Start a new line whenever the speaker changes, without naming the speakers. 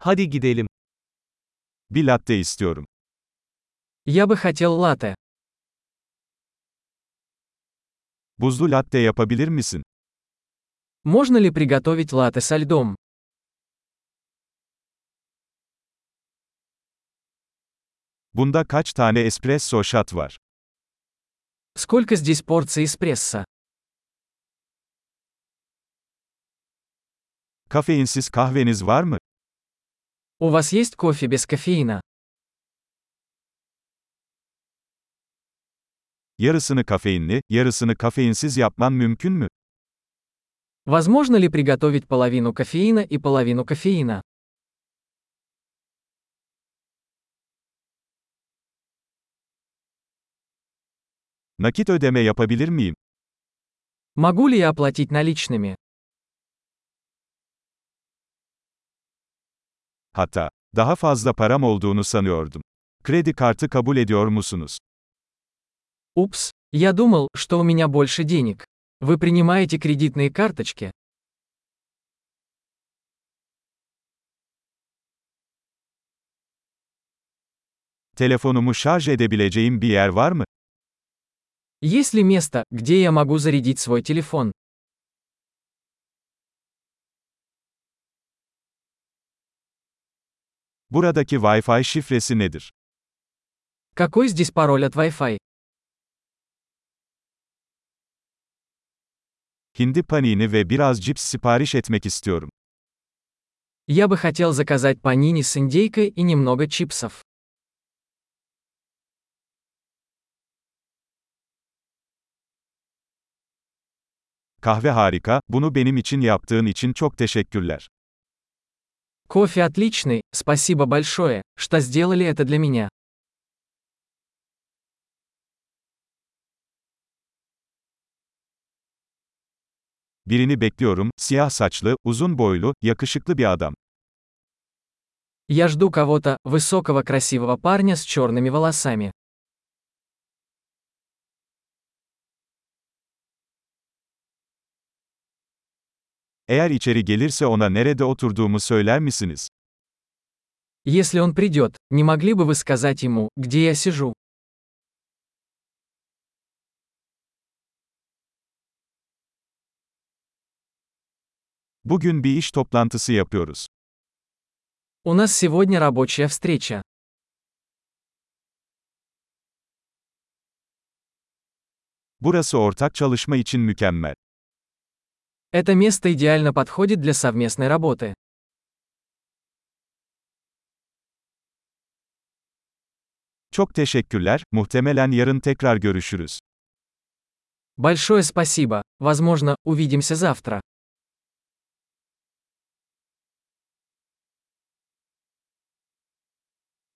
Hadi gidelim. Bir latte istiyorum.
Я бы хотел латте.
Buzlu latte yapabilir misin?
Можно ли приготовить латте со льдом?
Bunda kaç tane espresso shot var?
Сколько здесь порций эспрессо?
Kafeinsiz kahveniz var mı?
У вас есть кофе без кофеина?
Yarısını kafeinli, yarısını kafeinsiz yapman mümkün mü?
Возможно ли приготовить половину кофеина и половину кофеина?
Nakit ödeme yapabilir miyim?
Могу ли я оплатить наличными?
Hatta daha fazla param olduğunu sanıyordum. Kredi kartı kabul ediyor musunuz?
Упс, я думал, что у меня больше денег. Вы принимаете кредитные карточки?
Telefonumu şarj edebileceğim bir yer var mı?
Есть ли место, где я могу зарядить свой телефон?
Buradaki Wi-Fi şifresi nedir?
Какой здесь пароль от Wi-Fi?
Hindi panini ve biraz cips sipariş etmek istiyorum.
Я бы хотел заказать панини с индейкой и немного чипсов.
Kahve harika, bunu benim için yaptığın için çok teşekkürler.
Кофе отличный, спасибо большое, что сделали это для меня.
Birini bekliyorum, siyah saçlı, uzun boylu, yakışıklı bir adam.
Я жду кого-то, высокого красивого парня с черными волосами.
Eğer içeri gelirse ona nerede oturduğumu söyler misiniz?
Если он придет, не могли бы вы сказать ему, где я сижу?
Bugün bir iş toplantısı yapıyoruz.
У нас сегодня рабочая встреча.
Burası ortak çalışma için mükemmel.
Это место идеально подходит для совместной работы.
Çok teşekkürler, muhtemelen yarın tekrar görüşürüz.
Большое спасибо, возможно, увидимся завтра.